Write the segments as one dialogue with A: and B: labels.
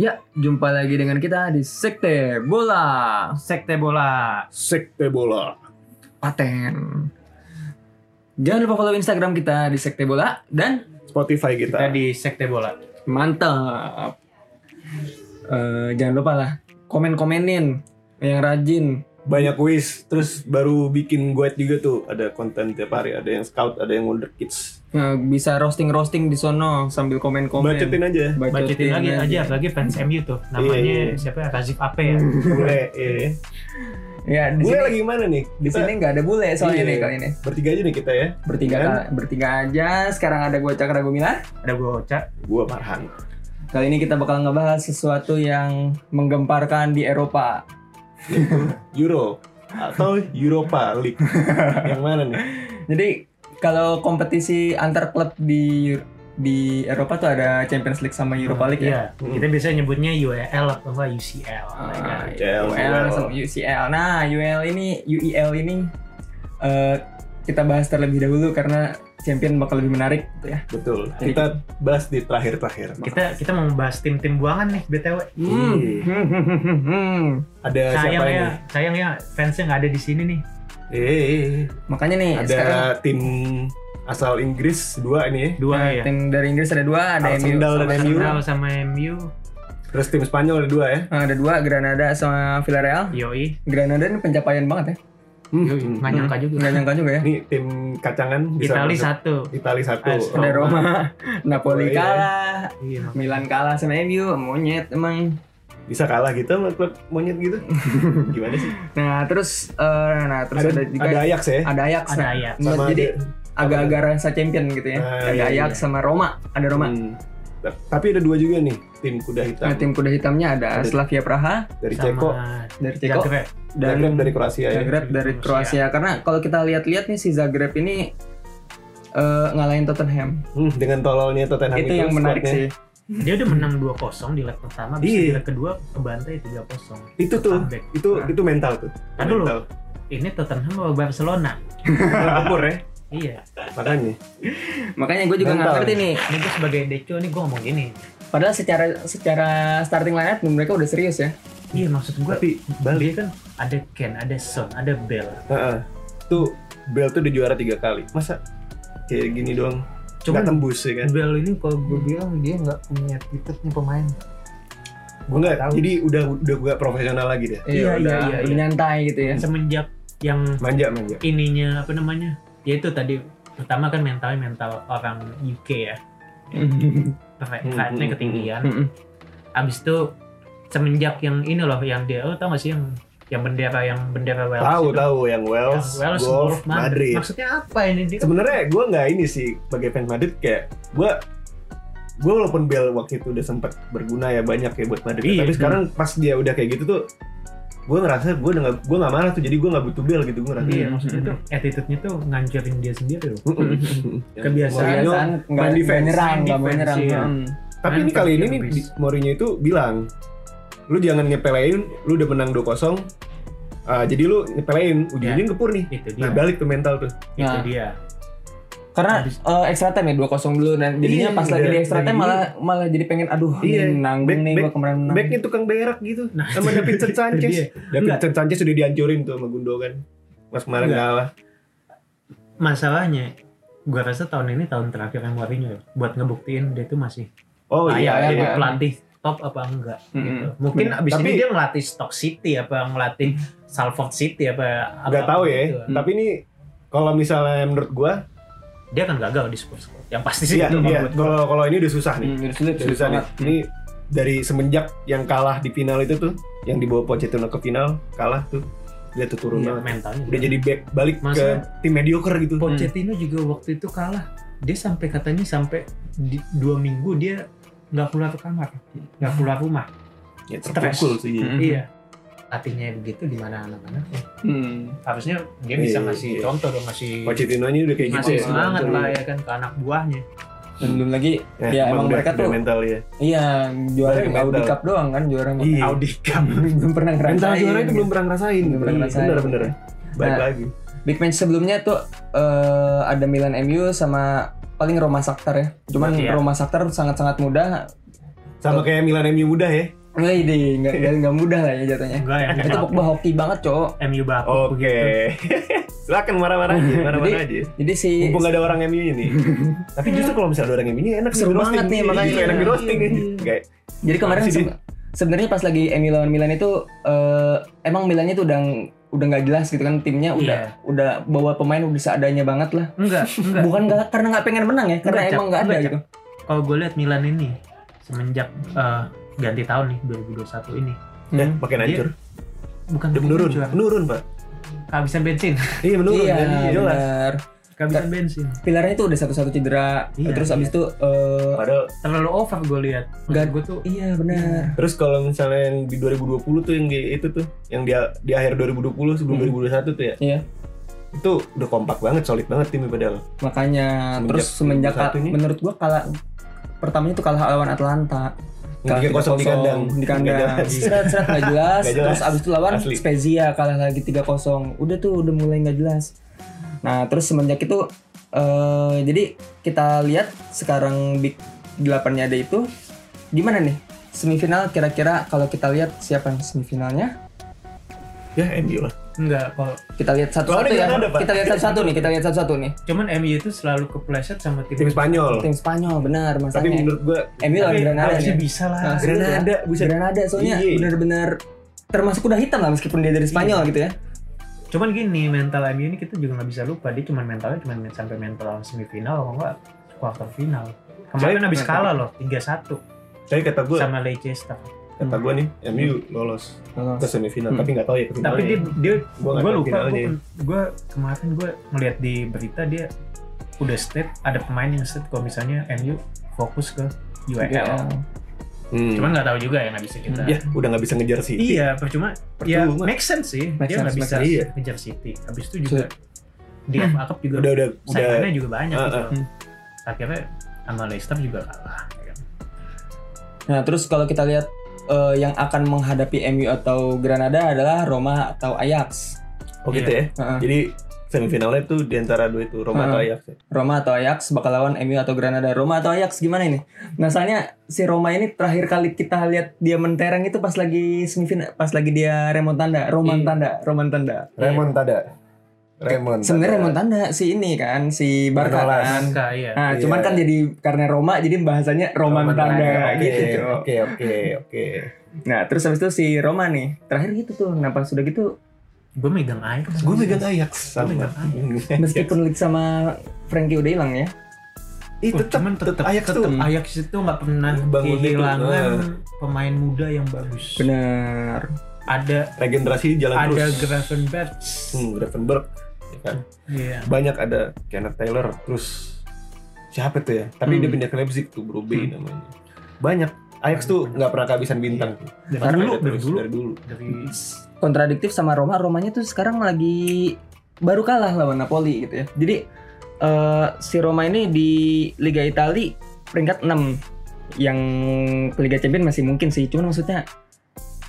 A: Ya, jumpa lagi dengan kita di Sekte Bola.
B: Sekte bola.
C: Sekte bola.
A: Paten. Jangan lupa follow Instagram kita di Sekte Bola dan
C: Spotify
B: Kita
C: kita.
B: di sekte bola.
A: mantap. Eh, jangan lupa lah komen-komenin yang rajin.
C: Banyak kuis, terus baru bikin guide juga tuh. Ada konten tiap hari, ada yang scout, ada yang wonder kids.
A: Eh, bisa roasting-roasting di sono sambil komen-komen.
C: Bacetin aja.
B: Bacetin lagi aja, lagi fans MU tuh. Namanya
C: Iya.
B: siapa ya? Razif Ape ya.
C: Bule, iya.
A: Ya, di
C: Bule
A: sini
C: lagi gimana nih?
A: di
C: Kita-
A: sini nggak ada bule soalnya
C: Iya.
A: nih kali ini.
C: Bertiga aja nih kita ya.
A: Bertiga
C: Kan?
A: bertiga aja. Sekarang ada gue Cakra Gumilar.
B: Ada gue Oca.
C: Gua Marhan.
A: Kali ini kita bakal ngebahas sesuatu yang menggemparkan di Eropa.
C: Euro atau Europa League. yang mana nih?
A: Jadi kalau kompetisi antar klub di di Eropa tuh ada Champions League sama Europa League ya.
B: Iya, kita biasanya nyebutnya UEL atau enggak UCL. kan.
A: Ah,
C: UCL.
A: UEL sama UCL. Nah, UEL ini UEL ini eh, kita bahas terlebih dahulu karena champion bakal lebih menarik gitu ya.
C: Betul. Kita bahas di terakhir-terakhir.
B: Kita kita mau membahas tim-tim buangan nih BTW.
C: Hmm.
A: Hmm.
C: Ada siapa ini?
B: Sayangnya, sayangnya ya, fansnya nggak ada di sini nih.
C: Eh,
A: Makanya nih
C: ada
A: sekarang
C: tim asal Inggris dua ini ya.
B: Dua
A: eh,
B: ya.
A: tim dari Inggris ada dua, ada MU
C: Arsenal dan
A: sama
C: MU.
A: Arsenal.
B: Arsenal sama MU,
C: Terus tim Spanyol ada dua ya.
A: Nah, ada dua Granada sama Villarreal.
B: Yoi.
A: Granada ini pencapaian banget ya.
C: Hmm.
B: Nggak nyangka juga.
A: Nggak nyangka juga ya.
C: Ini tim kacangan bisa
B: Itali
C: masuk.
B: satu.
C: Itali satu.
B: Asli.
A: Ada Roma, Napoli
C: Boleh, ya.
A: kalah,
B: Iya, makanya.
A: Milan kalah sama MU, monyet emang.
C: Bisa kalah gitu sama klub monyet gitu. Gimana sih?
A: Nah terus, eh, nah terus
C: Ada,
A: ada, juga
C: ada Ajax ya.
A: ada Ajax.
B: Ada
A: nah.
B: Ajax.
A: Nah,
C: Sama
A: jadi
C: ada-
A: agak-agak rasa champion gitu ya.
C: Ah,
A: ada
C: iya,
A: Ajax
B: iya.
A: sama Roma, ada Roma.
C: Hmm. Ta- Tapi ada dua juga nih tim kuda hitam
A: Nah, tim kuda hitamnya ada,
C: Ada. Iya,
A: Slavia Praha
C: dari
B: Sama ya.
C: Ceko,
A: dari Ceko
B: Zagreb.
A: dan
C: Zagreb dari Kroasia ya.
A: Zagreb dari
B: Kroasia.
A: Kroasia. Karena kalau kita lihat-lihat nih si Zagreb ini eh, ngalahin Tottenham.
C: Hmm, dengan tololnya Tottenham
A: itu yang menarik
C: squadnya.
A: sih.
B: Dia udah menang 2-0 di leg pertama, abis
C: Iya.
B: di leg kedua kebantai 3-0.
C: Itu tuh,
B: Comeback.
C: itu
B: Nah.
C: itu mental tuh.
B: Nah, dulu.
C: Mental.
B: Ini Tottenham sama Barcelona.
C: Campur ya.
B: Iya.
C: Makanya.
A: Makanya gue juga nggak
C: Mental.
A: ngerti nih.
B: Ini gue sebagai Deco nih gue ngomong gini.
A: Padahal secara secara starting lineup mereka udah serius ya.
B: Iya maksud gue
C: Tapi
B: dia
C: balik.
B: kan ada Ken, ada Son, ada Bell.
C: Heeh. Tuh Bel tuh udah juara tiga kali. Masa kayak gini doang?
B: Cuman-
C: Nggak tembus ya kan?
B: Bell ini kalau gue bilang dia nggak punya titik nih pemain. Gue
C: Enggak,
B: nggak tahu.
C: jadi udah udah gak profesional lagi deh.
B: Iya,
A: udah,
B: iya, iya,
A: udah
B: iya.
A: nyantai gitu ya.
B: semenjak yang
C: Manja manja.
B: ininya apa namanya? Ya itu tadi pertama kan mentalnya mental orang UK ya. Fightnya
C: hmm,
B: ketinggian. Abis itu semenjak yang ini loh yang dia oh tau gak sih yang yang bendera yang bendera Wales
C: Tahu
B: itu.
C: tahu
B: Yang
C: yang Wales,
B: Wales
C: Wolf,
B: Wolf, Madrid.
C: Madrid.
B: Maksudnya apa ini? Dia kan
C: Sebenarnya gue nggak ini sih sebagai fans Madrid kayak gue gue walaupun Bel waktu itu udah sempat berguna ya banyak ya buat Madrid,
B: Iya,
C: tapi
B: iya.
C: sekarang pas dia udah kayak gitu tuh gue ngerasa gue udah gue nggak marah tuh jadi gue nggak butuh Bel gitu gue ngerasa.
B: Iya, maksudnya tuh attitude-nya tuh ngancurin dia sendiri loh.
C: Yang
B: Kebiasaan. kan,
C: Mourinho-
A: Kebiasaan Iya, nggak
C: main defense.
A: menyerang,
B: Main
A: nggak
B: defense,
A: menyerang.
B: iya.
A: Hmm.
C: Tapi ini kali ini nih di- Mourinho itu bilang lu jangan ngepelein, lu udah menang 2-0. ah, jadi lu ngepelein, ujungnya
B: Iya.
C: ngepur nih.
B: itu dia.
C: Nah, balik tuh mental tuh.
B: itu
A: Nah.
B: dia.
A: Karena
B: Habis-
A: eh, extra time ya 2-0 dulu dan jadinya
C: Iya,
A: pas lagi
C: udah-
A: di extra
C: udah
A: time
C: gini.
A: malah malah jadi pengen aduh
C: Iya,
A: ini nanggung
C: back-
A: nih gua
C: back-
A: kemarin menang.
C: Backnya tukang berak gitu.
B: Nah,
C: Sama David
B: Itu dia.
C: Sanchez.
B: Enggak.
C: David Sanchez sudah dihancurin tuh sama Gundogan. Mas kemarin
B: kan, Enggak.
C: kalah.
B: Masalahnya gua rasa tahun ini tahun terakhir yang Mourinho ya, buat ngebuktiin dia tuh masih
C: Oh
B: Nah,
A: Ah,
C: iya,
A: iya,
C: iya.
A: iya.
B: pelatih top apa enggak gitu.
A: Mm-mm.
B: Mungkin abis
C: Tapi-
B: ini dia ngelatih Stock City apa ngelatih Salford City apa
C: Nggak
B: apa-
C: tahu
B: apa
C: ya.
B: gitu.
C: Tapi ini kalau misalnya menurut gua,
B: Dia akan gagal di Spurs. Yang pasti sih
C: iya,
B: itu
C: iya.
B: menurut gua.
C: Kalau kalau ini udah susah nih.
A: Hmm, udah sulit,
C: Udah
A: sulit
C: susah nih.
A: banget.
C: Ini dari semenjak yang kalah di final itu tuh, yang dibawa Pochettino ke final, kalah tuh. Dia tuh turun
B: Iya,
C: banget.
B: mentalnya.
C: udah jadi back balik
B: Maksudnya-
C: ke tim mediocre gitu.
B: Pochettino juga waktu itu kalah. Dia sampai katanya sampai di- dua minggu dia nggak keluar ke kamar, nggak keluar rumah.
C: Ya
B: Stres.
C: terpukul sih.
A: Mm. Mhm.
B: Iya. Artinya begitu di mana anak-anak.
A: Hmm.
B: Harusnya dia bisa
C: Iya,
B: ngasih
C: iya.
B: contoh dong, ngasih
C: Pochettino nya udah kayak gitu
B: ngasih
C: ya.
B: semangat lah ya kan ke anak buahnya.
A: Dan belum lagi
C: Eh,
A: ya emang
C: udah-
A: mereka
C: udah
A: tuh
C: mental ya.
A: iya juara
C: Mereka
A: Audi
C: mental.
A: Cup doang kan juara
C: Iya.
B: Audi Cup.
A: belum pernah ngerasain.
C: Mental juara itu belum pernah ngerasain.
A: Belum pernah
C: Iya,
A: ngerasain.
C: Bener bener. Balik
A: Nah.
C: lagi.
A: Big match sebelumnya tuh eh, ada Milan MU sama paling Roma Shakhtar ya. Cuman
B: Iya.
A: Roma Shakhtar sangat-sangat mudah. Oh.
C: Sama kayak Milan MU muda ya.
A: Nggak ide, nggak nggak- nggak mudah lah ya jatuhnya.
B: Enggak yang
C: Iya.
A: Itu pokoknya hoki banget, Cok.
B: MU bapuk
C: Oke.
B: begitu.
C: Silakan marah-marah aja, marah-marah
A: Jadi-
C: aja.
A: Jadi si
C: Mumpung gak ada orang MU ini. Tapi justru kalau misalnya ada orang MU ini enak
A: Seru
C: di roasting
A: banget nih, makanya.
C: Justru enak di roasting nih.
B: Iya.
C: Kayak
A: jadi kemarin
C: Masih,
A: se- sebenarnya pas lagi MU lawan Milan itu eh, emang Milannya tuh udah udah nggak jelas gitu kan timnya udah
B: Iya.
A: udah bawa pemain udah seadanya banget lah.
B: Enggak, enggak.
A: Bukan nggak karena nggak pengen menang ya, karena
B: Enggak, Cap.
A: emang nggak ada
B: Enggak,
A: gitu.
B: Kalau gue lihat Milan ini semenjak eh, ganti tahun nih 2021 ini
C: ya,
A: Hmm.
C: makin hancur.
B: bukan
C: Udah menurun,
B: cuan.
C: menurun pak.
B: kehabisan bensin,
C: Iya menurun.
A: iya,
C: jadi jelas.
A: benar.
B: kehabisan bensin.
A: Pilarnya tuh udah satu-satu cedera.
B: Iya,
A: Terus
B: iya.
A: abis itu eh,
C: Padahal
B: Terlalu over gue lihat.
A: Enggak.
B: Gue tuh
A: iya benar.
C: terus kalau misalnya yang di 2020 tuh yang di itu tuh yang di, di akhir 2020 sebelum
A: Hmm.
C: 2021 tuh ya.
A: Iya.
C: Itu udah kompak banget, solid banget timnya padahal.
A: Makanya
C: Semenjak
A: terus semenjak
C: 21 ini.
A: menurut gua kalah pertamanya tuh kalah lawan Atlanta. Kalah
C: Yang 3-0
A: 3-0,
C: di kandang.
A: Di kandang.
C: Nggak jelas.
A: Seret-seret nggak jelas.
C: Nggak jelas.
A: Terus abis itu lawan
C: Asli.
A: Spezia kalah lagi 3-0. Udah tuh udah mulai nggak jelas. Nah, terus semenjak itu eh jadi kita lihat sekarang big 8-nya ada itu gimana nih? Semifinal kira-kira kalau kita lihat siapa yang semifinalnya?
C: Ya MU lah.
B: enggak kalau
A: Kita lihat
C: Lawannya
A: satu-satu ya.
C: Granada, Pak.
A: Kita lihat satu-satu nih, kita lihat satu-satu nih.
B: cuman MU itu selalu kepleset sama tim.
C: Tim Spanyol.
A: Tim Spanyol benar
C: Tapi
A: masanya.
C: menurut gua
A: MU lawan
C: Tapi
A: Granada
B: harusnya
A: nih.
B: bisa lah.
A: Nah,
C: Granada ada, bisa.
A: Granada soalnya
C: Iya.
A: benar-benar termasuk kuda hitam lah meskipun dia dari Spanyol gitu ya.
B: Cuman gini mental MU ini kita juga nggak bisa lupa dia cuman mentalnya cuman men- sampai mental lawan semifinal kalau nggak quarter final. Kemarin
C: Saya-
B: habis kalah loh 3-1
C: Tapi kata gua,
B: sama Leicester.
C: kata
B: Hmm.
C: gua nih, MU lolos ke semifinal.
A: Hmm.
C: Tapi nggak tahu ya. ke
B: Tapi dia
C: finalnya.
B: dia
C: Gua nggak
B: gue
C: tahu
B: lupa
C: finalnya.
B: gue kemarin gue ngeliat di berita dia udah state ada pemain yang state kalau misalnya MU fokus ke UEL.
C: E Hmm.
B: Cuman nggak tahu juga ya nggak bisa kita.
C: ya udah nggak bisa ngejar sih.
B: Iya, percuma. Ya,
C: Percuma.
B: make sense sih.
A: Make sense,
B: dia nggak
A: make
B: bisa
C: sense. Iya. Hmm.
B: ngejar City. Habis itu juga di FA Cup juga
C: Udah udah udah
B: saingannya juga banyak.
C: Ah,
B: gitu.
C: ah.
A: Hmm.
B: Akhirnya sama Leicester juga kalah. ya kan.
A: Nah, terus kalau kita lihat eh, yang akan menghadapi MU atau Granada adalah Roma atau Ajax.
C: oh
B: iya.
C: gitu ya.
A: Heeh.
C: Jadi semifinalnya tuh di antara dua itu Roma atau Ajax. ya?
A: Roma atau Ajax bakal lawan MU atau Granada. Roma atau Ajax gimana ini? Nah, soalnya si Roma ini terakhir kali kita lihat dia mentereng itu pas lagi semifinal, pas lagi dia remontanda, romantanda, romantanda.
C: Remontada. Remontada.
A: Sebenarnya remontanda si ini kan, si Barca
C: Manolas.
A: kan.
B: Angka, iya.
A: Nah, cuman
C: Iya.
A: kan jadi karena Roma jadi bahasanya Roman tanda
C: Oke,
A: gitu. Cok.
C: Oke, oke, oke.
A: Nah, terus habis itu si Roma nih, terakhir gitu tuh. Nah, pas udah gitu
B: Gue megang air.
C: Gue megang Ajax
B: Gua
C: sama.
B: megang Ajax.
A: meskipun Leeds sama Frankie udah hilang ya.
C: Ih,
B: Oh,
C: tetap
B: cuman tetap
C: Ajax tuh.
B: tetap Ajax itu nggak pernah
C: Bangun itu,
B: kehilangan
C: nah.
B: pemain muda yang bagus.
A: Benar.
B: Ada
C: regenerasi jalan
B: ada
C: terus.
B: Gravenberch.
C: Hmm, Gravenberg. Ya kan?
B: Iya.
C: Banyak ada Kenneth Taylor terus siapa tuh ya? Tapi
A: Hmm.
C: dia pindah ke Leipzig tuh, Bro B namanya. Banyak Ajax tuh nggak pernah kehabisan bintang.
A: Iya.
B: Dari
A: Karena
B: dulu,
C: Ada
B: dari
C: terus,
B: dulu,
C: dari dulu.
B: dari
A: Kontradiktif sama Roma, Romanya tuh sekarang lagi baru kalah lawan Napoli gitu ya. Jadi eh, si Roma ini di Liga Italia peringkat 6 yang ke Liga Champions masih mungkin sih, cuman maksudnya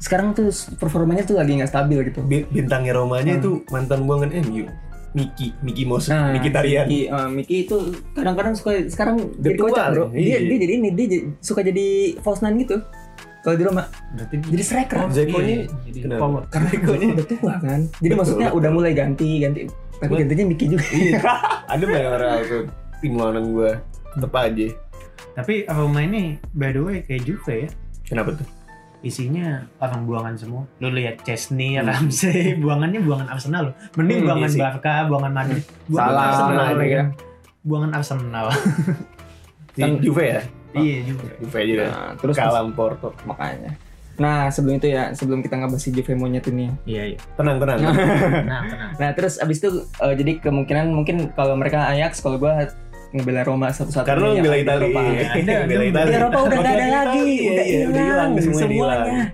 A: sekarang tuh performanya tuh lagi nggak stabil gitu.
C: Bi- bintangnya Romanya
A: Hmm.
C: itu mantan eh, buangan MU Miki Miki Mos
A: Nah,
C: Miki Tarian
A: Miki, eh, Miki itu kadang-kadang suka sekarang
C: Iya, Dia
A: jadi
C: tua,
A: kocak bro. Dia,
C: iya.
A: dia jadi ini, dia jadi- suka jadi false nine gitu. Kalau di Roma,
B: berarti
A: jadi striker.
B: Oh,
C: Zeko
B: iya,
C: ini
B: jadi
C: kenapa?
B: power.
A: Karena
C: Zekonya.
A: udah tua kan. Jadi
C: Betul,
A: maksudnya
C: betul.
A: udah mulai ganti, ganti. Tapi
C: Betul. Iya.
A: gantinya Miki juga.
C: ada banyak orang tuh tim lawan gue tetep aja
B: Tapi Roma ini by the way kayak Juve ya.
C: kenapa tuh
B: Isinya orang buangan semua. Lu lihat Chesney, Ramsey, buangannya buangan Arsenal loh. Mending
A: Hmm,
B: buangan
C: Hmm. iya sih. Hmm.
B: Barca, buangan Madrid, buangan
A: Salah,
B: Arsenal,
A: salah,
C: iya.
B: ya.
A: ya.
B: buangan Arsenal.
C: di
A: Kan-
C: Juve ya
B: iya juga.
C: Juve aja deh
A: Nah, terus
C: kalam Porto
A: makanya. Nah, sebelum itu ya, sebelum kita ngebahas si Juve monyet ini.
B: Iya iya.
C: tenang tenang
B: Nah, tenang.
A: Nah, terus abis itu eh, jadi kemungkinan mungkin kalau mereka Ajax, kalau gua ngebela Roma satu-satunya.
C: karena lu
A: yang ada
C: bela
A: di
C: Itali
A: Eropa.
B: Ada,
C: bela
B: ada.
C: Itali
A: Di Eropa udah nggak ada lagi,
C: Iya,
A: udah hilang
C: semua hilang
A: semuanya.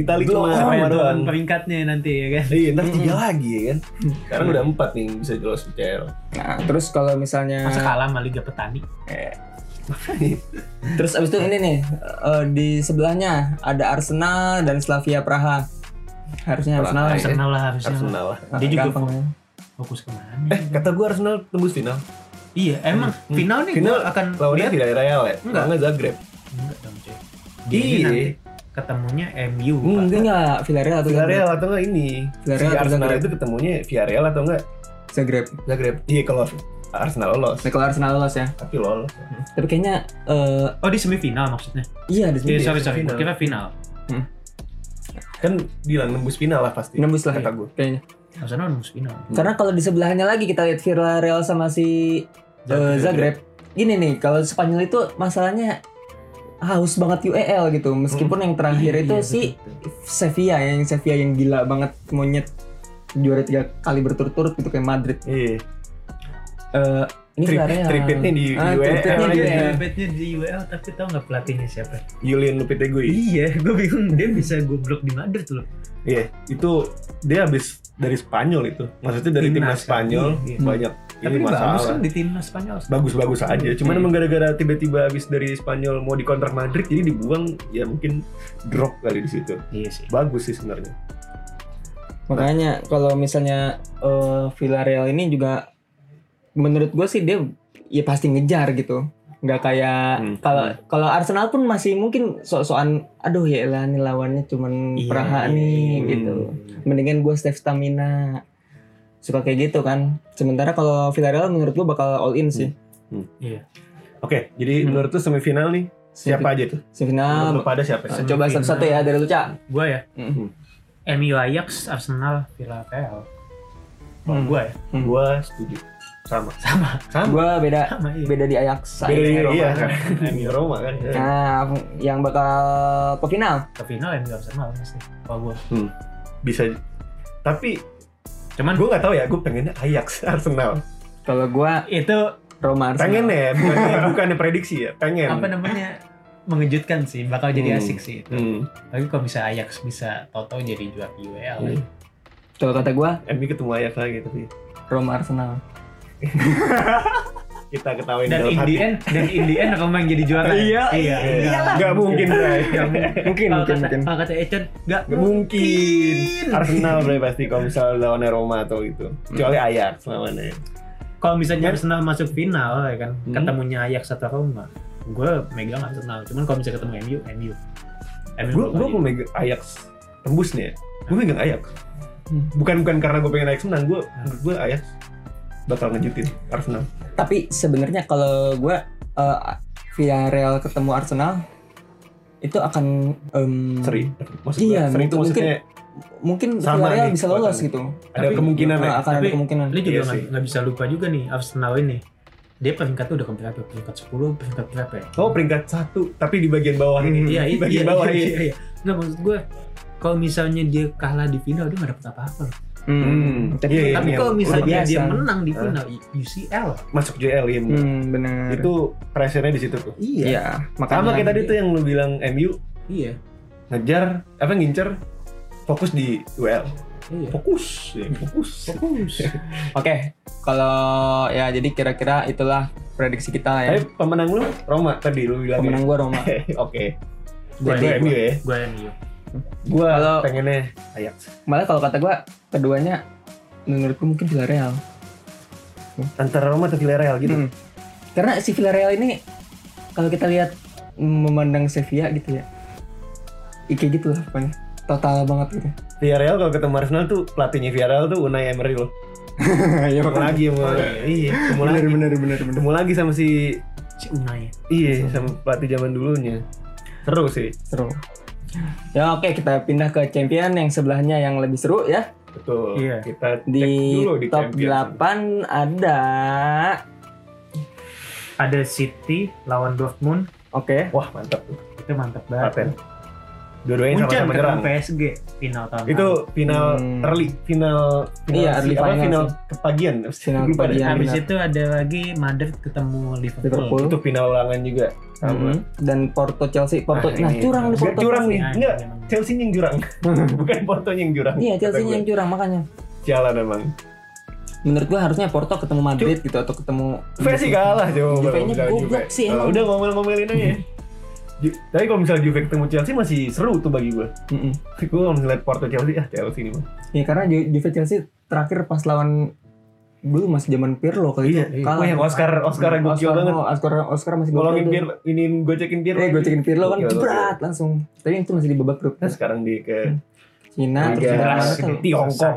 C: Itali cuma
A: Belum.
C: sama doang
B: Turun peringkatnya nanti ya kan.
C: iya ntar tiga
A: Mm-mm.
C: lagi ya kan sekarang udah empat nih yang bisa jelas bicara Eh.
A: Nah, terus kalau misalnya Eh,
B: Masa kalah sama Liga Petani?
A: Terus abis itu ini nih eh, di sebelahnya ada Arsenal dan Slavia Praha. Harusnya Arsenal.
C: Praha,
A: ya.
B: Arsenal lah harusnya.
C: Arsenal lah.
A: Ah,
B: Dia juga
A: gampang ya.
B: Fokus kemana? ya?
C: Eh, kata gue Arsenal tembus final.
B: iya, emang
C: Hmm.
B: final nih
C: Final
B: gua akan
C: Lawannya
B: lihat.
C: tidak Real ya?
B: Iya. Enggak.
C: Lawannya Zagreb.
B: Enggak dong, cuy. Dia ini
C: Iya.
B: nanti ketemunya MU. Pak.
A: Enggak enggak Hmm, Villarreal atau
C: Villarreal atau enggak ini?
A: Villarreal
C: si
A: atau
C: Arsenal
A: Zagreb?
C: itu ketemunya Villarreal atau enggak
A: Zagreb.
C: Zagreb? Iya kalau Arsenal lolos,
A: Nah, kalau Arsenal lolos ya.
C: tapi lolos.
A: Tapi kayaknya eh,
B: Oh, di semifinal maksudnya.
A: iya di sini. Hmm,
B: Iya,
C: Iya,
B: sorry, sorry.
C: semifinal.
B: Kita final.
C: Kan bilang nembus final lah pasti.
A: Nembus lah ya.
C: Kata gue.
A: kayaknya.
B: Arsenal nembus final.
A: Karena kalau di sebelahnya lagi kita lihat Villarreal sama si eh, Zagreb. Gini nih, kalau Spanyol itu masalahnya haus banget UEL gitu. Meskipun yang terakhir
B: Iya,
A: itu
B: iya,
A: si
B: betul.
A: Sevilla ya, yang Sevilla yang gila banget monyet juara tiga kali berturut-turut gitu kayak Madrid.
C: Iya.
A: Eh, ini
C: Trip-
A: Villarreal.
C: tripitnya di
A: Ah,
C: UEL
A: tripitnya di
C: aja.
B: Dia
A: UEL.
B: dompetnya di UEL tapi tau nggak pelatihnya siapa?
C: Julian Lopetegui.
B: Iya, gue bingung dia bisa goblok di Madrid loh.
C: Iya, itu dia habis dari Spanyol itu. Maksudnya dari
B: Timnas
C: timnas
B: kan?
C: Spanyol
B: Iya, iya.
C: banyak
B: Tapi
C: ini
B: dia bagus kan
C: masalah.
B: di timnas Spanyol.
C: Bagus-bagus aja. Cuman
A: Hmm.
C: emang gara-gara tiba-tiba habis dari Spanyol mau dikontrak Madrid jadi dibuang ya mungkin drop kali di situ.
B: Iya sih.
C: Bagus sih sebenarnya.
A: Makanya kalau misalnya eh, Villarreal ini juga menurut gue sih dia ya pasti ngejar gitu. Nggak
C: Hmm.
A: kayak kalau kalau Arsenal pun masih mungkin sok-sokan aduh ya elah nih lawannya cuman
B: Iya,
A: Praha
B: iya,
A: nih
C: iya.
A: gitu. Mendingan gue save stamina. Suka kayak gitu kan. Sementara kalau Villarreal menurut gue bakal all in
C: Hmm.
A: sih.
B: Iya.
C: Oke, jadi
A: Hmm.
C: menurut tuh semifinal nih siapa aja tuh?
A: Semifinal
C: Menurut lu pada siapa?
A: Nah, coba satu-satu ya dari Luca.
B: Gue ya.
A: Mm.
B: MU Ajax, Arsenal, Villarreal.
A: Hmm.
B: Gue ya.
C: Gua setuju. Sama.
B: Sama.
C: Sama.
A: Gua beda
B: Sama iya.
A: beda di Ajax.
C: Beda
A: Ajax
C: di
A: Eropa.
C: iya kan. Di Roma kan.
A: Nah, yang bakal ke final.
B: Ke final MU Arsenal pasti. Kalau gue.
C: Bisa tapi
B: Cuman
C: gue nggak tahu ya, gue pengennya Ajax Arsenal.
A: Kalau gua
B: itu
A: Roma
C: Pengen
A: Arsenal.
C: ya, bukan, bukan prediksi ya, pengen.
B: apa namanya mengejutkan sih bakal jadi
C: Hmm.
B: asik sih itu.
C: Hmm.
B: Tapi kalau bisa Ajax bisa toto jadi juara UEL.
C: Hmm.
A: Kalau kata gua
C: MU ketemu Ajax lagi tapi
A: Roma Arsenal.
C: kita ketawain
B: Dan
C: dalam
B: in the
C: hati.
B: end, dan in the end Roma yang jadi juara.
A: Iya,
B: iya.
A: iyalah.
C: Gak mungkin, Bray. Gak mungkin.
A: Mungkin
B: Kalau
A: mungkin
B: kata,
A: mungkin.
B: kalau kata Econ, nggak
C: Gak mungkin. Arsenal Bray pasti kalau misalnya lawannya Roma atau gitu. Kecuali Ajax lawannya.
B: kalau misalnya Arsenal masuk final ya kan
C: Hmm.
B: ketemunya Ajax atau Roma gue megang Arsenal cuman kalau misalnya ketemu MU MU MU
C: Gue gue
B: bakal
C: mau megang Ajax tembus nih ya. Gue megang Ajax.
A: Hmm.
C: Bukan bukan karena gue pengen Ajax menang, gue gue Ajax bakal ngejutin Arsenal.
A: Tapi sebenarnya kalau gua eh, Villarreal ketemu Arsenal itu akan em,
C: Seri. Maksud
A: Iya,
C: seri itu
A: mungkin-
C: maksudnya
A: mungkin
C: Sama
A: Villarreal
C: nih,
A: bisa lolos
C: kekuatan.
A: gitu.
C: ada
B: Tapi-
C: kemungkinan
A: Nah,
C: ya.
A: akan ada
B: Tapi-
A: kemungkinan.
B: jadi. lu juga
C: Iya
B: nggak
C: sih.
B: nggak bisa lupa juga nih Arsenal ini dia peringkatnya udah keberapa peringkat 10 peringkat berapa ya
C: Oh peringkat satu, tapi di bagian bawah ini.
B: iya
C: di
B: iya
C: bagian
B: iya,
C: bawah
B: iya,
C: ini.
B: iya, iya. nggak maksud gue kalau misalnya dia kalah di final dia nggak dapet apa-apa loh.
A: Hmm.
C: Hmm.
A: Tapi,
C: Iya, iya,
B: tapi
C: iya.
B: kalau
C: Udah
B: misalnya dia
A: biasa.
B: menang di
C: Ah.
B: final UCL
C: Masuk JL ya. Bu.
A: hmm, benar.
C: Itu pressure-nya di situ tuh.
B: iya
A: Iya, makanya.
C: Sama kayak tadi tuh yang lu bilang MU
B: iya
C: ngejar apa ngincer fokus di UL.
B: iya
C: Fokus, ya, fokus.
B: fokus
A: Oke, kalau ya jadi kira-kira itulah prediksi kita lah ya.
C: Tapi pemenang lu Roma tadi lu bilang.
A: Pemenang gua Roma.
C: ya? Oke.
B: Gua
C: Gue
B: MU.
C: MU ya.
B: gue MU
C: Gua
A: Kalau-
C: pengennya Ajax.
A: Malah kalau kata gua keduanya menurutku mungkin Villarreal.
C: Antara Roma atau Villarreal gitu.
A: Hmm. Karena si Villarreal ini kalau kita lihat memandang Sevilla gitu ya. i- Kayak gitu lah pokoknya. Total banget gitu.
C: Villarreal kalau ketemu Arsenal tuh pelatihnya Villarreal tuh Unai Emery loh.
A: ya
C: Ketemu lagi sama iya, ketemu lagi.
A: benar benar benar.
C: Ketemu lagi sama si
B: si Unai ya.
C: Iya, sama pelatih zaman dulunya. Seru sih.
A: Seru. Ya oke kita pindah ke champion yang sebelahnya yang lebih seru ya.
C: Betul.
B: Iya.
C: Kita cek
A: Di
C: dulu di
A: top
C: Champions.
A: 8 ada
B: ada City lawan Dortmund
A: Oke.
C: Wah, mantap tuh.
B: itu mantap banget
C: Paten.
B: Munchen
C: Dua-duanya ya? sama-sama
B: ketemu
C: nyerang.
B: PSG final tahun
C: Itu
B: lalu.
C: final
A: Hmm.
C: early, final, final
A: Iya, early
C: apa,
A: final
C: final
A: sih.
C: kepagian.
A: Final
C: Lupa deh.
A: kepagian. Iya,
B: habis
A: benar.
B: itu ada lagi Madrid ketemu Liverpool,
A: Liverpool.
C: Itu final ulangan juga. Sama.
A: Mhm. Dan Porto Chelsea Porto.
C: Ah,
A: Nah,
C: ini.
A: curang di
C: Nggak,
A: Porto.
C: curang nih.
B: Nah,
C: Enggak.
B: emang.
C: Chelsea yang curang. Bukan Porto yang curang.
A: Iya,
C: Kata
A: Chelsea
C: gue.
A: yang curang makanya.
C: Sialan emang.
A: menurut gua harusnya Porto ketemu Madrid gitu atau ketemu
C: Juve sih kalah coba.
A: Juve-nya
C: misalnya
A: goblok sih, emang.
C: Ah,
A: Mm-hmm.
C: Udah ngomel-ngomelin aja. Ju- Tapi kalau misalnya Juve ketemu Chelsea masih seru tuh bagi gue.
A: Mm-mm.
C: Gue kalau ngeliat Porto Chelsea, ah Chelsea ini mah.
A: Ya karena Ju- Juve Chelsea terakhir pas lawan dulu masih zaman Pirlo kali
C: Iya,
A: itu.
C: iya. Wah, yang Oscar Oscar yang gokil banget.
A: no, Oscar Oscar masih gokil
C: Golongin
A: tuh.
C: Pirlo, Iya, ini gocekin Pirlo.
A: Eh, gue cekin Pirlo kan
C: Gokil, gokil.
A: berat langsung. Tapi itu masih di babak grup
C: Nah, sekarang di ke
A: Cina terus
C: Liga
A: Liga
B: Inggris.
A: Maret.
C: Tiongkok.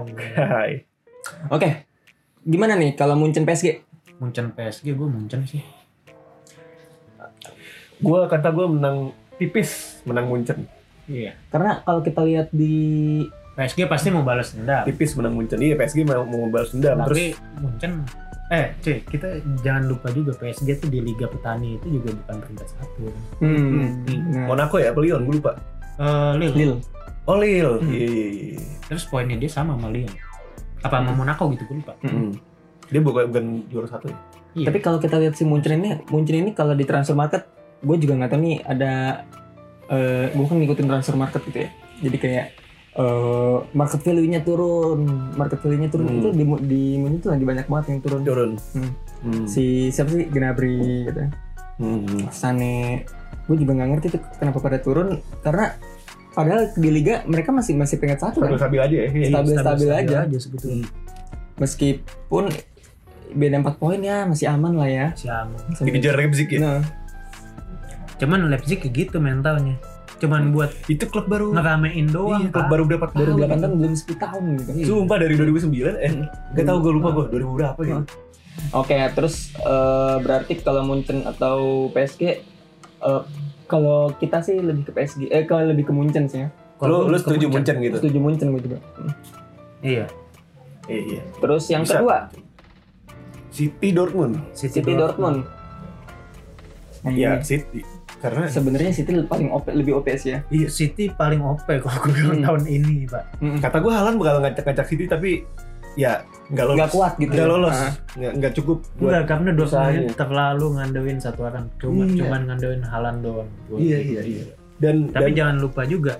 A: Oke. Gimana nih kalau Munchen PSG?
B: Muncen PSG gue Muncen sih.
C: gue kata gue menang tipis, menang Munchen.
B: Iya.
A: Karena kalau kita lihat di
B: PSG pasti mau balas dendam.
C: Tipis menang Munchen. Iya PSG mau mau balas dendam. Terus
B: Tapi Muncen eh cuy kita jangan lupa juga PSG tuh di Liga Petani itu juga bukan peringkat satu.
A: hmm, nah,
C: Monaco ya, apa Lyon gue lupa.
B: Eh Lille.
A: Lille.
C: Oh Lille.
A: Hmm.
C: Iya iya iya.
B: Terus poinnya dia sama sama Lille. Apa sama Monaco gitu gue lupa.
A: Hmm.
C: Hmm. Dia bukan bukan juara satu ya.
B: Iya.
A: Tapi kalau kita lihat si Munchen ini, Munchen ini kalau di transfer market, gue juga nggak tahu nih ada, eh gue kan ngikutin transfer market gitu ya. Jadi kayak eh market value-nya turun, market value-nya turun
C: Hmm.
A: itu di Mu- di Munchen tuh lagi banyak banget yang turun.
C: Turun.
A: Hmm.
C: Hmm.
A: Si siapa sih Gnabry gitu,
C: Hmm.
A: Sane. Gue juga nggak ngerti tuh kenapa pada turun karena padahal di liga mereka masih masih peringkat satu
C: Stabil
A: kan.
C: stabil aja ya. Iya.
A: stabil-stabil aja.
B: sebetulnya.
A: Meskipun beda 4 poin ya masih aman lah ya.
B: Siapa?
C: Dikejar Leipzig ya.
A: Nah,
B: Cuman Leipzig kayak gitu mentalnya. Cuman buat
C: Itu klub baru.
B: ngeramein doang.
C: Iya, klub
B: Pak.
C: baru dapat
A: baru Hmm.
C: baru
A: delapan tahun belum 10 tahun gitu.
C: Sumpah dari 2009 eh gak tau gue lupa gue 2000 berapa gitu.
A: Hmm. Oke, terus eh, berarti kalau Munchen atau PSG eh, kalau kita sih lebih ke PSG, eh kalau lebih ke Munchen sih ya.
C: Lu
B: Kalau
C: lu
B: ke
C: setuju Munchen gitu.
A: Setuju Munchen gue juga.
B: Iya.
C: Iya iya.
A: Terus yang
C: Bisa.
A: kedua,
C: City Dortmund.
A: City Dortmund. Nah,
C: Iya,
A: ini
C: City. Karena
A: Sebenarnya City paling OP, lebih OPS ya.
B: Iya, City paling OP kalau gue bilang
A: Hmm.
B: tahun ini, Pak.
C: kata gue Halan bakal ngacak-ngacak City tapi ya nggak lolos.
A: Nggak kuat gitu.
C: Nggak
A: ya.
C: lolos.
A: Ah.
C: Nggak nggak cukup buat
B: Enggak, karena Dortmund
C: usahanya.
B: terlalu ngandelin satu orang. Cuma
C: Iya.
B: cuman ngandelin Halan doang. Gua
C: Iya
B: gitu.
C: iya iya. Dan
B: Tapi
C: dan
B: jangan lupa juga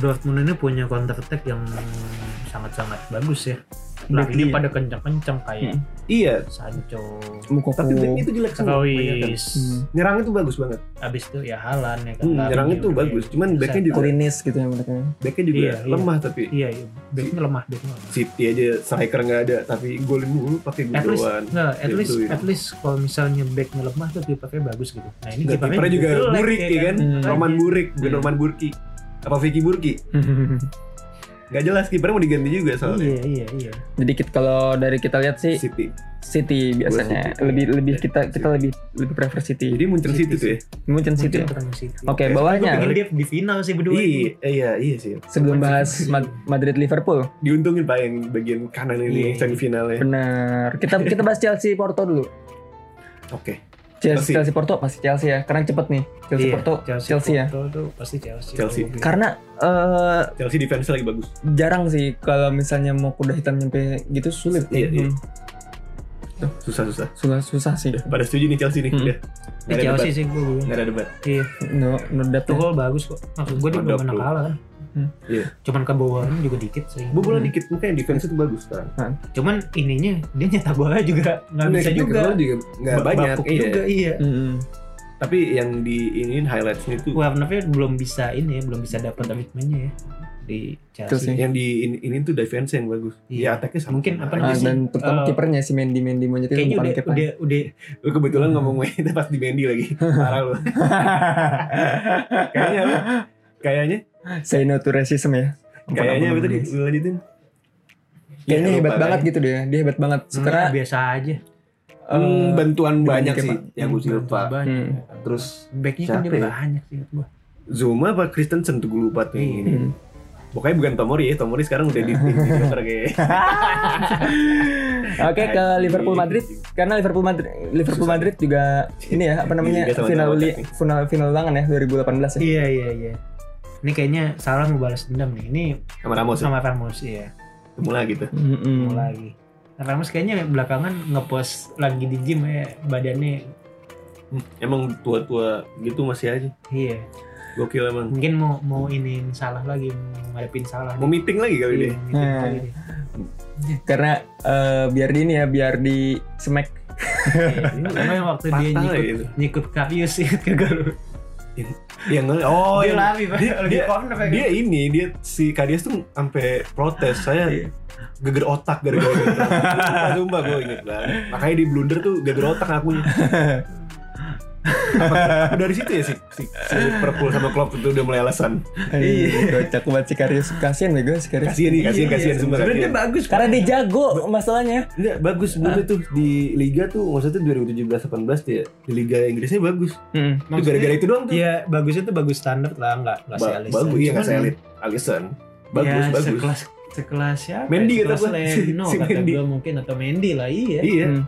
B: Dortmund ini punya counter attack yang sangat-sangat bagus ya.
A: Backnya.
B: Larinya pada kencang-kencang kayak
A: Hmm.
C: iya.
B: Sancho,
A: Mukoko.
C: Tapi backnya itu jelek semua. kebanyakan.
B: Kawis,
A: Hmm.
C: Nyerang itu bagus banget.
B: abis itu ya Halan ya kan.
C: Hmm,
B: Larinya
C: nyerang itu
B: udah-
C: bagus. Cuman backnya juga
A: Kurinis gitu ya mereka.
C: backnya juga
B: Iya, iya.
C: lemah tapi
B: Iya, iya. Backnya lemah backnya lemah.
C: City aja striker nggak ada tapi golin mulu pakai
B: At least,
C: gol
B: nggak, at
C: Gitu,
B: least,
C: gitu.
B: at least kalau misalnya backnya lemah tapi pakai bagus gitu. Nah ini
C: Nggak,
B: kipernya
C: kipernya juga
B: jelek, Iya.
C: Burik ya kan?
A: Hmm.
C: Norman Burik, bukan
A: Hmm.
C: Norman Burki. Apa Vicky Burki? Gak jelas kipernya mau diganti juga soalnya.
B: Iya iya iya.
A: Dikit kalau dari kita lihat sih
C: City.
A: City ya. biasanya
C: City.
A: lebih lebih kita
C: City.
A: kita lebih lebih prefer City.
C: Jadi muncul
B: City
C: City tuh ya.
A: Munchen City.
B: Mungkin ketemu City.
A: Oke,
C: Oke,
B: Pengen
A: bawahnya
B: dia di final sih berdua.
C: Iya, iya, iya sih.
A: sebelum
B: City.
A: bahas Ma- Madrid Liverpool.
C: Diuntungin pak yang bagian kanan ini
B: Iya.
C: semifinalnya.
A: Benar. Kita kita bahas Chelsea Porto dulu.
C: Oke.
A: Chelsea, Chelsea
C: Chelsea.
A: Porto pasti Chelsea ya. Karena cepet nih Chelsea
B: Iya,
A: Porto Chelsea, ya.
B: Porto tuh pasti Chelsea. Iya.
C: Chelsea.
B: Kalau gue.
A: Karena eh,
C: Chelsea defense lagi bagus.
A: jarang sih kalau misalnya mau kuda hitam nyampe gitu sulit.
C: Iya, iya.
A: Hmm,
C: Susah susah.
A: Susah susah sih.
C: Udah, pada setuju nih Chelsea nih.
A: Iya. Hmm.
C: Udah.
B: Eh,
C: Nggak ada
B: Chelsea
C: debat.
B: sih gue bilang.
C: Nggak ada debat.
B: Iya.
A: No no doubt.
B: Tuh gol bagus kok. Maksud gue dia belum
C: Mantap,
B: pernah
C: tuh.
B: kalah kan.
A: Hmm.
C: Iya.
B: Cuman kebobolan juga dikit sih.
C: Bobolan
A: Hmm.
C: dikit makanya defense itu bagus sekarang.
B: Cuman ininya dia nyetak bola juga nggak bisa
C: Defense
B: juga.
C: juga gitu, nggak
B: Ba-
C: banyak.
B: bakuk
C: Iya.
B: juga iya.
A: Mm-mm.
C: Tapi yang di ini highlightsnya itu
B: Warnanya belum bisa ini ya, belum bisa dapat ritmenya ya di Chelsea.
A: Chelsea.
C: yang di ini, ini tuh defense yang bagus.
B: Iya.
C: Ya attacknya sama.
B: Mungkin apa
A: Ah,
B: namanya sih?
A: dan terutama
B: Eh,
A: kipernya si Mendy Mendy mau jadi
B: Kayaknya
A: umpan
B: udah,
A: kiper.
B: udah udah
C: Lu kebetulan ngomong itu pas di Mendy lagi. Parah lu. Kayaknya apa? Kayaknya
A: Say no to racism ya. Umpan-
C: kayaknya
A: umpan
C: betul
A: Mendy.
C: Lu lanjutin.
A: Kayaknya
C: Ya,
A: hebat
C: lupa
A: banget
C: lagi.
A: gitu dia. Dia hebat banget.
B: sebenarnya
A: Sekarang
B: biasa aja.
A: Eh,
C: Hmm, bantuan banyak
A: Kepa.
C: sih yang gue lupa.
B: Banyak.
A: Hmm.
C: Terus
B: Backnya kan dia
C: Siapa ya?
B: banyak sih menurut gua.
C: Zuma apa Kristensen tuh gue lupa tuh yang ini.
A: Hmm.
C: Pokoknya bukan Tomori ya, Tomori sekarang udah di tim di Joker kayak.
A: Oke ke Liverpool Madrid karena Liverpool Madrid Liverpool
C: Susah.
A: Madrid juga ini ya apa namanya
C: Liga sama-sama
A: final li-
C: kocak
A: final final ulangan ya 2018 ya.
B: Iya iya iya. Ini kayaknya Salah mau balas dendam nih. Ini
C: Sama Ramos ya,
B: sama Ramos ya.
C: ketemu lagi tuh.
A: Mm-mm.
C: Hmm.
B: Mau lagi. Nah, Ramos kayaknya belakangan ngepost lagi di gym ya badannya
C: Hmm, Emang tua-tua gitu masih aja.
B: iya
C: Gokil emang.
B: Mungkin mau mau ini salah lagi, mau ngadepin salah.
C: Mau meeting lagi kali
B: Iya,
C: deh.
B: gitu kali deh.
A: Karena eh, biar di ini ya, biar di smack.
B: Iya, Emang waktu dia
C: Patah
B: nyikut,
C: ya itu.
B: nyikut Kavius ikut ke Garuda.
C: Yang nge- oh
B: dia
C: yang-
B: lari, Pak.
C: dia-
B: Lagi
C: dia-
B: corner, Pak.
C: dia ini dia si Kadias tuh sampai protes saya
A: Iya.
C: geger otak gara-gara gitu. Sumpah, sumpah gue inget banget. Makanya di blunder tuh geger otak akunya. Apa- dari situ ya si, si, si Liverpool sama Klopp itu udah mulai alasan.
A: Iya. Kocak banget si Karius. Kasian ya gue si Karius.
C: Kasihan nih, kasihan,
A: Iya,
C: kasihan
A: iya.
C: sumpah.
A: Sebenarnya
C: kasihan.
A: dia bagus. Karena dia jago masalahnya.
C: Enggak, bagus sebenarnya tuh di liga tuh maksudnya 2017-18 dia di liga Inggrisnya bagus.
A: Hmm.
C: Itu
B: Maksudnya-
C: gara-gara itu doang tuh.
B: Ya bagusnya tuh bagus standar lah, nggak nggak
C: Ba-
B: si Alisson.
C: bagus iya nggak
B: Cuman-
C: elit. Alisson. Bagus,
B: ya,
C: bagus.
B: Sekelas sekelas siapa?
C: Mendy
B: ya?
C: kata
B: sekelas
C: gua.
B: Leno
C: Si
B: kata
C: Mendy.
B: gua mungkin atau Mendy lah iya.
C: Iya,
A: Hmm.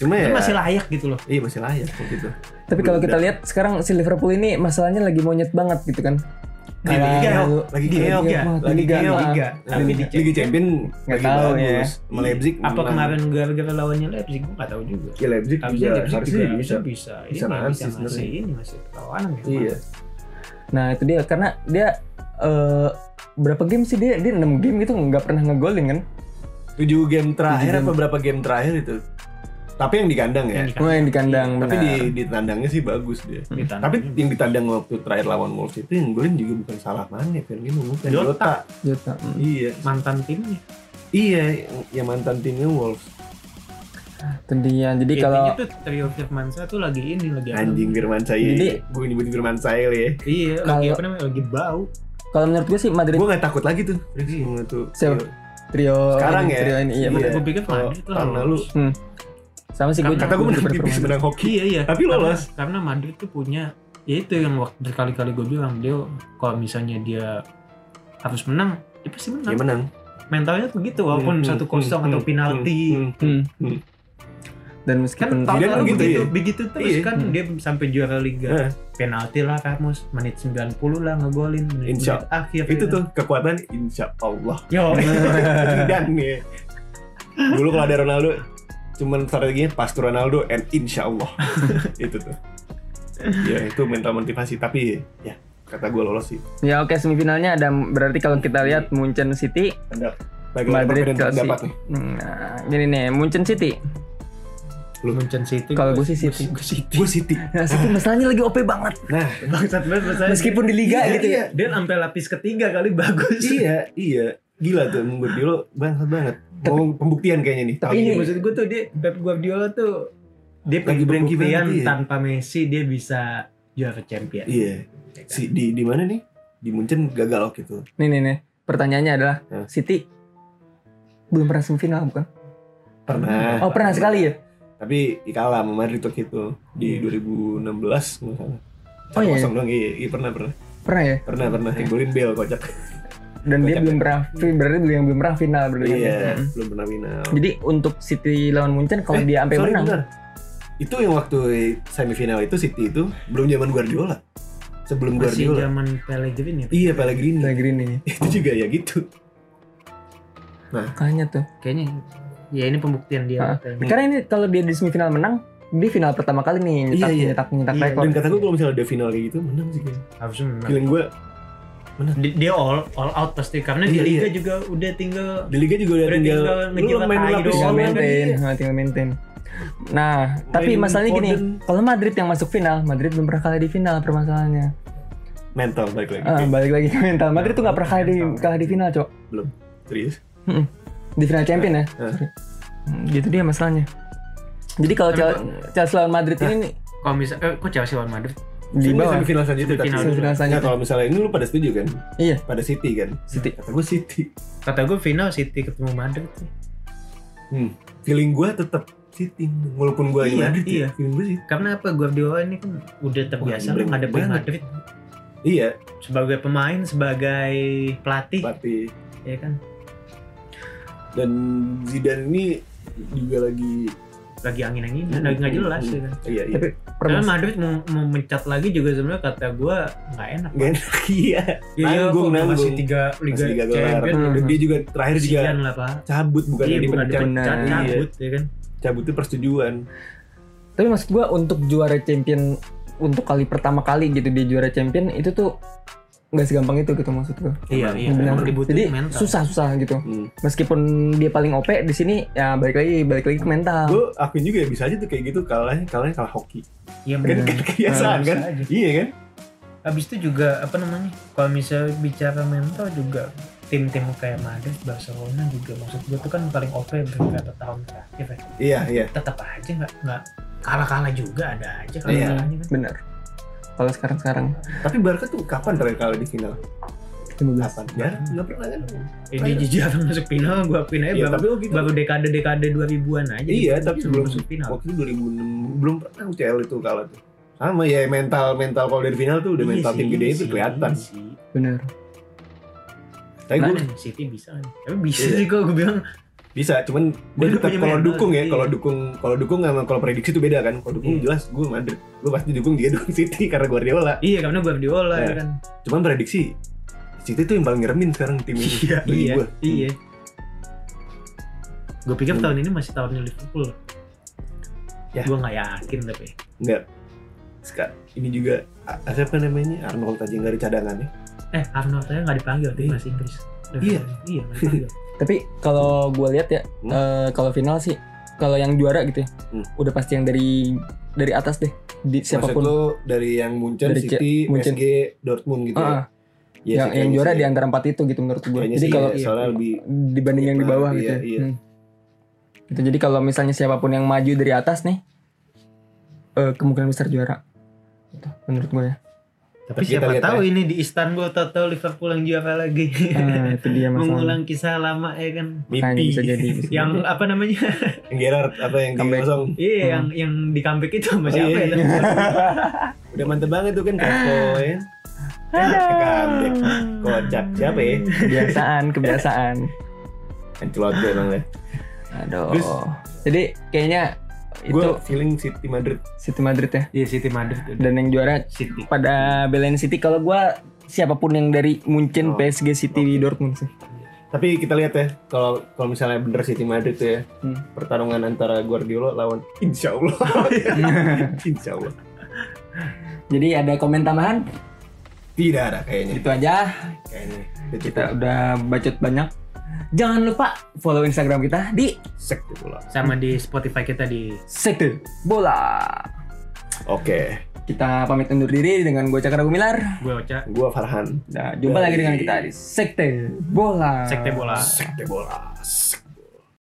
C: cuma ya
B: Itu masih layak gitu loh.
C: Iya masih layak waktu itu.
A: Tapi kalau kita lihat sekarang si Liverpool ini masalahnya lagi monyet banget gitu kan.
B: Di
A: Kalah
B: Liga,
A: mulu.
C: lagi
A: Di
C: keok
A: Liga,
B: ya.
A: wah, di
C: Lagi
A: Liga.
C: keok.
A: Liga.
B: Liga, tapi di
C: Liga, Liga Champion
A: Nggak
C: lagi
A: tahu
C: bagus.
A: ya.
C: Sama Leipzig
B: Apa
C: menang.
B: kemarin gara-gara lawannya Leipzig gua nggak tahu juga.
C: Ya Leipzig
B: Harusnya
C: juga,
B: Leipzig
C: harusnya
B: juga
C: juga bisa.
B: bisa bisa ini
C: Bisa nahan sih
B: bisa masih
C: sebenarnya.
B: ini masih perlawanan ya.
C: Iya.
A: Nah itu dia karena dia eh, berapa game sih dia dia 6 game itu nggak pernah ngegolin kan?
C: Tujuh game terakhir
A: Tujuh game.
C: apa berapa game terakhir itu? Tapi yang di kandang ya.
B: Yang di
A: Iya,
B: Hmm.
A: Cuma yang di kandang nah.
C: Tapi
A: benar.
C: di di tandangnya sih bagus dia.
B: Ditantang.
C: Tapi yang di tandang waktu terakhir lawan Wolves itu yang golin juga bukan salah mana Firmino bukan
B: Jota.
A: Jota. Hmm.
C: Iya.
B: mantan timnya.
C: Iya, yang mantan timnya Wolves.
A: Itu dia.
C: Iya,
A: Jadi kalau
B: Intinya tuh trio Firmansyah tuh lagi ini lagi apa
C: Anjing Firman
A: Jadi-
C: saya. Gue nyebut Firman saya ya.
B: Iya, lagi
A: Kalau-
B: apa namanya? Lagi bau.
A: kalau menurut gue sih Madrid
C: Gue gak takut lagi tuh. Sama tuh.
A: Siapa? trio
C: Sekarang
A: ini,
C: ya?
A: trio ini iya,
C: Iya.
A: benar.
B: Gue pikir
C: Kalau
B: Madrid
C: tahun lalu.
B: lolos.
A: Sama sih gue
B: Karena-
C: Kata gue menang tipis menang hoki.
B: Iya iya.
C: Tapi
B: Karena-
C: lolos.
B: Karena, Madrid tuh punya ya itu yang waktu berkali-kali gue bilang dia kalau misalnya dia harus menang, dia pasti
C: Dia
B: Iya, menang.
C: menang.
B: Mentalnya tuh gitu walaupun
C: Iya, Hmm,
B: satu
C: hmm,
B: kosong
C: hmm,
B: atau
C: hmm,
B: penalti.
C: hmm, hmm.
A: Hmm.
C: Hmm.
A: Dan
B: Kan
A: meskipun gitu.
B: tahun
C: Zidane
B: lalu
C: begitu,
B: begitu,
C: iya.
B: begitu terus
C: Iya.
B: kan
A: Hmm.
B: dia sampai juara liga.
C: Nah,
B: Penalti lah Ramos menit 90 lah ngegolin menit,
C: Insya-
B: menit akhir.
C: Nah, itu
B: ya.
C: tuh kekuatan insya Allah.
B: Yo.
C: Dan nih. Dulu kalau ada Ronaldo cuman strateginya pas tuh Ronaldo and insya Allah. itu tuh. Ya itu mental motivasi tapi ya kata gue lolos sih.
A: ya oke semifinalnya ada berarti kalau kita lihat Munchen City
C: Pendapat. Bagi
A: Madrid
C: perbedaan
A: Chelsea.
C: pendapat nih.
A: Nah, gini nih, Munchen City.
B: Munchen City.
A: Kalau gue sih City.
B: Gue City.
C: Gue City.
A: Nah, City masalahnya lagi OP banget.
C: Nah,
B: Bangsat banget masalahnya.
A: Meskipun di liga
C: Iya,
A: gitu ya.
C: iya.
B: Dan sampai lapis ketiga kali bagus.
C: iya, iya. Gila tuh menurut Dilo bangsat banget. Mau pembuktian kayaknya nih.
A: Tapi
C: tahun
A: ini
C: ini.
B: maksud gue tuh dia Pep Guardiola tuh dia
C: Lagi
B: lagi
C: berangki
B: pembuktian
C: banget, iya.
B: tanpa Messi dia bisa juara champion.
C: Iya. Si di di mana nih? Di Munchen gagal gitu. waktu itu.
A: Nih nih nih. Pertanyaannya adalah
C: Hmm.
A: City belum pernah semifinal bukan?
C: Pernah.
A: Oh, pernah sekali ya?
C: Nah, Tapi ya kalah sama Madrid waktu itu di 2016 nggak salah.
A: Hmm. Oh, iya.
C: Kosong doang, iya, iya, pernah pernah
A: Pernah ya?
C: pernah pernah yang golin Bel kocak.
A: Dan dia
C: Kocak,
A: belum pernah berarti belum belum pernah final berarti.
C: Iya,
A: Mm.
C: belum pernah final.
A: Jadi untuk City lawan Munchen kalau
C: Eh,
A: dia sampai
C: sorry,
A: menang.
C: bentar. Itu yang waktu semifinal itu City itu belum zaman Guardiola. Sebelum
B: Masih
C: Guardiola.
B: zaman Pellegrini ya.
C: Iya, Pellegrini.
A: Lagi ini.
C: itu juga ya gitu.
A: Makanya tuh.
B: Kayaknya ya ini pembuktian
A: Ah.
B: dia. kayaknya.
A: Karena ini kalau dia di semifinal menang, di final pertama kali nih nyetak
C: Iya, iya.
A: nyetak nyetak
B: Iya,
A: rekor. Nah.
C: Dan kata gue kalau misalnya ada final kayak gitu menang sih kayaknya.
B: Harusnya menang.
C: Feeling gue
B: Di- Dia all all out pasti karena di
C: Iya,
B: liga
C: iya.
B: juga udah tinggal
C: di liga juga udah
B: Udah
C: tinggal
B: tinggal
C: lu
B: ngejilat
C: main
B: tai
C: lapis
A: tinggal
B: doang,
C: doang kan,
A: maintain,
C: iya.
A: nah, tinggal maintain. Nah, tapi
C: Main
A: masalahnya gini,
C: Foden.
A: kalau Madrid yang masuk final, Madrid belum pernah kalah di final permasalahannya.
C: mental balik lagi.
A: Ah, balik lagi ke mental. Madrid tuh nggak pernah kalah di kalah di final, Cok.
C: Serius.
A: Mm-mm. Di final champion ya.
C: Ah.
A: Sorry. Mm, Gitu dia masalahnya. Jadi kalau
B: Tapi
A: Chel- Chelsea lawan Madrid ini nih,
B: kalau misal eh, kok Chelsea lawan Madrid?
A: di
C: Ini
A: bawah
C: semifinal selanjutnya tapi.
B: Semifinal dulu.
A: Semifinal selanjutnya.
C: Nah, kalau misalnya ini lu pada setuju kan?
A: Iya.
C: Pada City kan?
A: City.
C: Kata gue City.
B: Kata gue final City ketemu Madrid. sih.
C: Hmm. Feeling gue tetap City walaupun gue lagi
B: Iya,
C: Madrid
B: iya.
C: ya. Feeling gue sih.
B: Karena apa Guardiola ini kan udah terbiasa
C: Wah,
B: menghadapi
C: banget.
B: Madrid
C: Iya,
B: sebagai pemain, sebagai pelatih,
C: tapi
B: ya kan
C: dan Zidane ini juga lagi
B: lagi angin-angin, lagi nggak jelas ya kan.
C: iya iya.
A: Tapi-
B: Karena
A: permas-
B: Madrid mau, mau mencat lagi juga sebenarnya kata gue nggak enak.
C: Gak enak iya. Nanggung,
B: kok
C: nanggung.
B: Masih tiga liga,
C: Masih tiga gelar.
B: champion,
A: Hmm.
C: Dan dia juga terakhir juga
B: kasihan lah pak.
C: cabut bukan
B: Iya
C: yang
B: bukan
C: dipecat.
B: dipecat,
A: Iya.
B: cabut ya kan.
C: Cabut itu persetujuan.
A: Tapi maksud gua untuk juara champion untuk kali pertama kali gitu dia juara champion itu tuh nggak segampang itu gitu maksud gue.
B: Iya, iya,
A: Benar.
B: memang dibutuhin
A: Jadi
B: mental.
A: susah-susah gitu.
C: Hmm.
A: Meskipun dia paling OP di sini ya balik lagi balik lagi ke mental.
C: Gue akuin juga ya bisa aja tuh kayak gitu kalahnya kalahnya kalah hoki.
B: Iya
C: Kan
B: benar.
C: kan kebiasaan
B: Nah,
C: kan?
B: bisa aja.
C: Iya kan?
B: Abis itu juga apa namanya? Kalau misalnya bicara mental juga tim-tim kayak Madrid, Barcelona juga maksud gue tuh kan paling OP beberapa tahun terakhir. ya.
C: Iya iya.
B: Tetap aja nggak nggak kalah-kalah juga ada aja kalah
C: Iya.
B: kalahnya kan.
A: Bener. Kalau sekarang-sekarang
C: Tapi Barca tuh kapan terakhir kali di final?
A: 15.
B: Iya.
C: Kapan? Jarang, nggak pernah kan?
B: Ya, dia jarang masuk final, gue akuin aja
C: Iya,
B: baru,
C: tapi waktu itu
B: baru dekade-dekade 2000-an aja. dia
C: Iya, tapi
B: sebelum
C: belum-
B: masuk final.
C: waktu itu 2006 belum pernah UCL itu kalah tuh. Sama ya mental mental kalau dari final tuh udah
B: Iya
C: mental
B: sih,
C: tim gede
B: iya
C: itu
B: sih,
C: kelihatan.
B: iya sih.
A: Bener.
C: Tapi gue
B: Mana City bisa kan? Tapi bisa
C: Iya.
B: sih kalau gue bilang
C: bisa, cuman gue
B: Dia
C: tetap
B: punya
C: kalau
B: mental,
C: dukung ya,
B: iya.
C: kalau dukung kalau dukung sama kalau prediksi itu beda kan. Kalau dukung
B: Iya.
C: jelas gue Madrid, gue pasti dukung dia dukung City karena Guardiola.
B: Iya karena Guardiola
C: Iya.
B: ya kan.
C: Cuman prediksi City tuh yang paling ngeremin sekarang tim ini
B: Iya,
C: bagi
B: iya,
C: gue.
B: iya. Gue pikir
C: Hmm.
B: tahun ini masih tahunnya Liverpool.
C: Ya.
B: Gue nggak yakin tapi.
C: Ska, ini juga a- siapa namanya Arnold aja nggak ada ya? cadangannya.
B: Eh Arnold aja nggak dipanggil
C: Iya.
B: timnas Inggris.
C: Iya.
B: iya nggak dipanggil.
A: Tapi kalau gue lihat ya,
C: Hmm.
A: eh, kalau final sih, kalau yang juara gitu ya,
C: Hmm.
A: udah pasti yang dari dari atas deh, di
C: Maksud
A: siapapun.
C: lu dari yang Munchen,
A: Dari
C: City,
A: Munchen.
C: PSG, Dortmund gitu.
A: Ah, ah.
C: ya? Ya,
A: yang,
C: sih,
A: yang
C: kayaknya
A: juara
C: sih.
A: di antara empat itu gitu menurut gue.
C: Kayaknya
A: Jadi
C: sih,
A: kalau Ah,
C: iya, soalnya lebih
A: dibanding yang di bawah
C: Iya,
A: gitu. ya.
C: iya.
A: Hmm. Gitu, Jadi kalau misalnya siapapun yang maju dari atas nih, eh, kemungkinan besar juara. Gitu, menurut gue ya.
B: Tapi
C: Kita
B: siapa
C: lihat Eh,
B: tahu ini di Istanbul tahu Liverpool yang juara lagi.
A: Ah, itu dia masalah.
B: Mengulang kisah lama ya kan.
A: Kayaknya
C: mimpi
A: bisa jadi. bisa
B: Yang
C: Iya.
A: jadi.
B: apa namanya?
C: yang Gerard apa yang tiga
A: Comeback.
C: kosong
B: Iya
A: Hmm.
B: yang yang di comeback itu sama
C: Oh,
B: siapa
C: iya,
B: ya?
C: iya. udah mantep banget tuh
A: Ah.
C: kan kapo ya comeback kocak siapa ya
A: kebiasaan, kebiasaan.
C: Ancelotti emang ya
A: Aduh.
C: Terus-
A: Jadi kayaknya itu
C: gue feeling City Madrid
A: City Madrid ya.
B: Iya City Madrid udah.
A: Dan yang juara
B: City.
A: pada belain City kalau gua siapapun yang dari Munchen
C: Oh,
A: PSG City
C: oke.
A: Dortmund sih
C: tapi kita lihat ya kalau kalau misalnya bener City Madrid tuh ya
A: Hmm.
C: pertarungan antara Guardiola lawan Insya Allah Insya Allah
A: jadi ada komen tambahan
C: tidak ada kayaknya
A: itu aja
C: kayaknya Udah cukup.
A: kita udah bacot banyak jangan lupa follow Instagram kita di
C: sek tuh bola
B: Sama di Spotify kita di
A: Sekte Bola
C: oke
A: kita pamit undur diri dengan gue Cakra Gumilar
B: gue Ocha
C: gua Farhan
A: Nah, jumpa lagi dengan kita di Sekte Bola
B: Sekte Bola.
C: sek tuh bola Sek.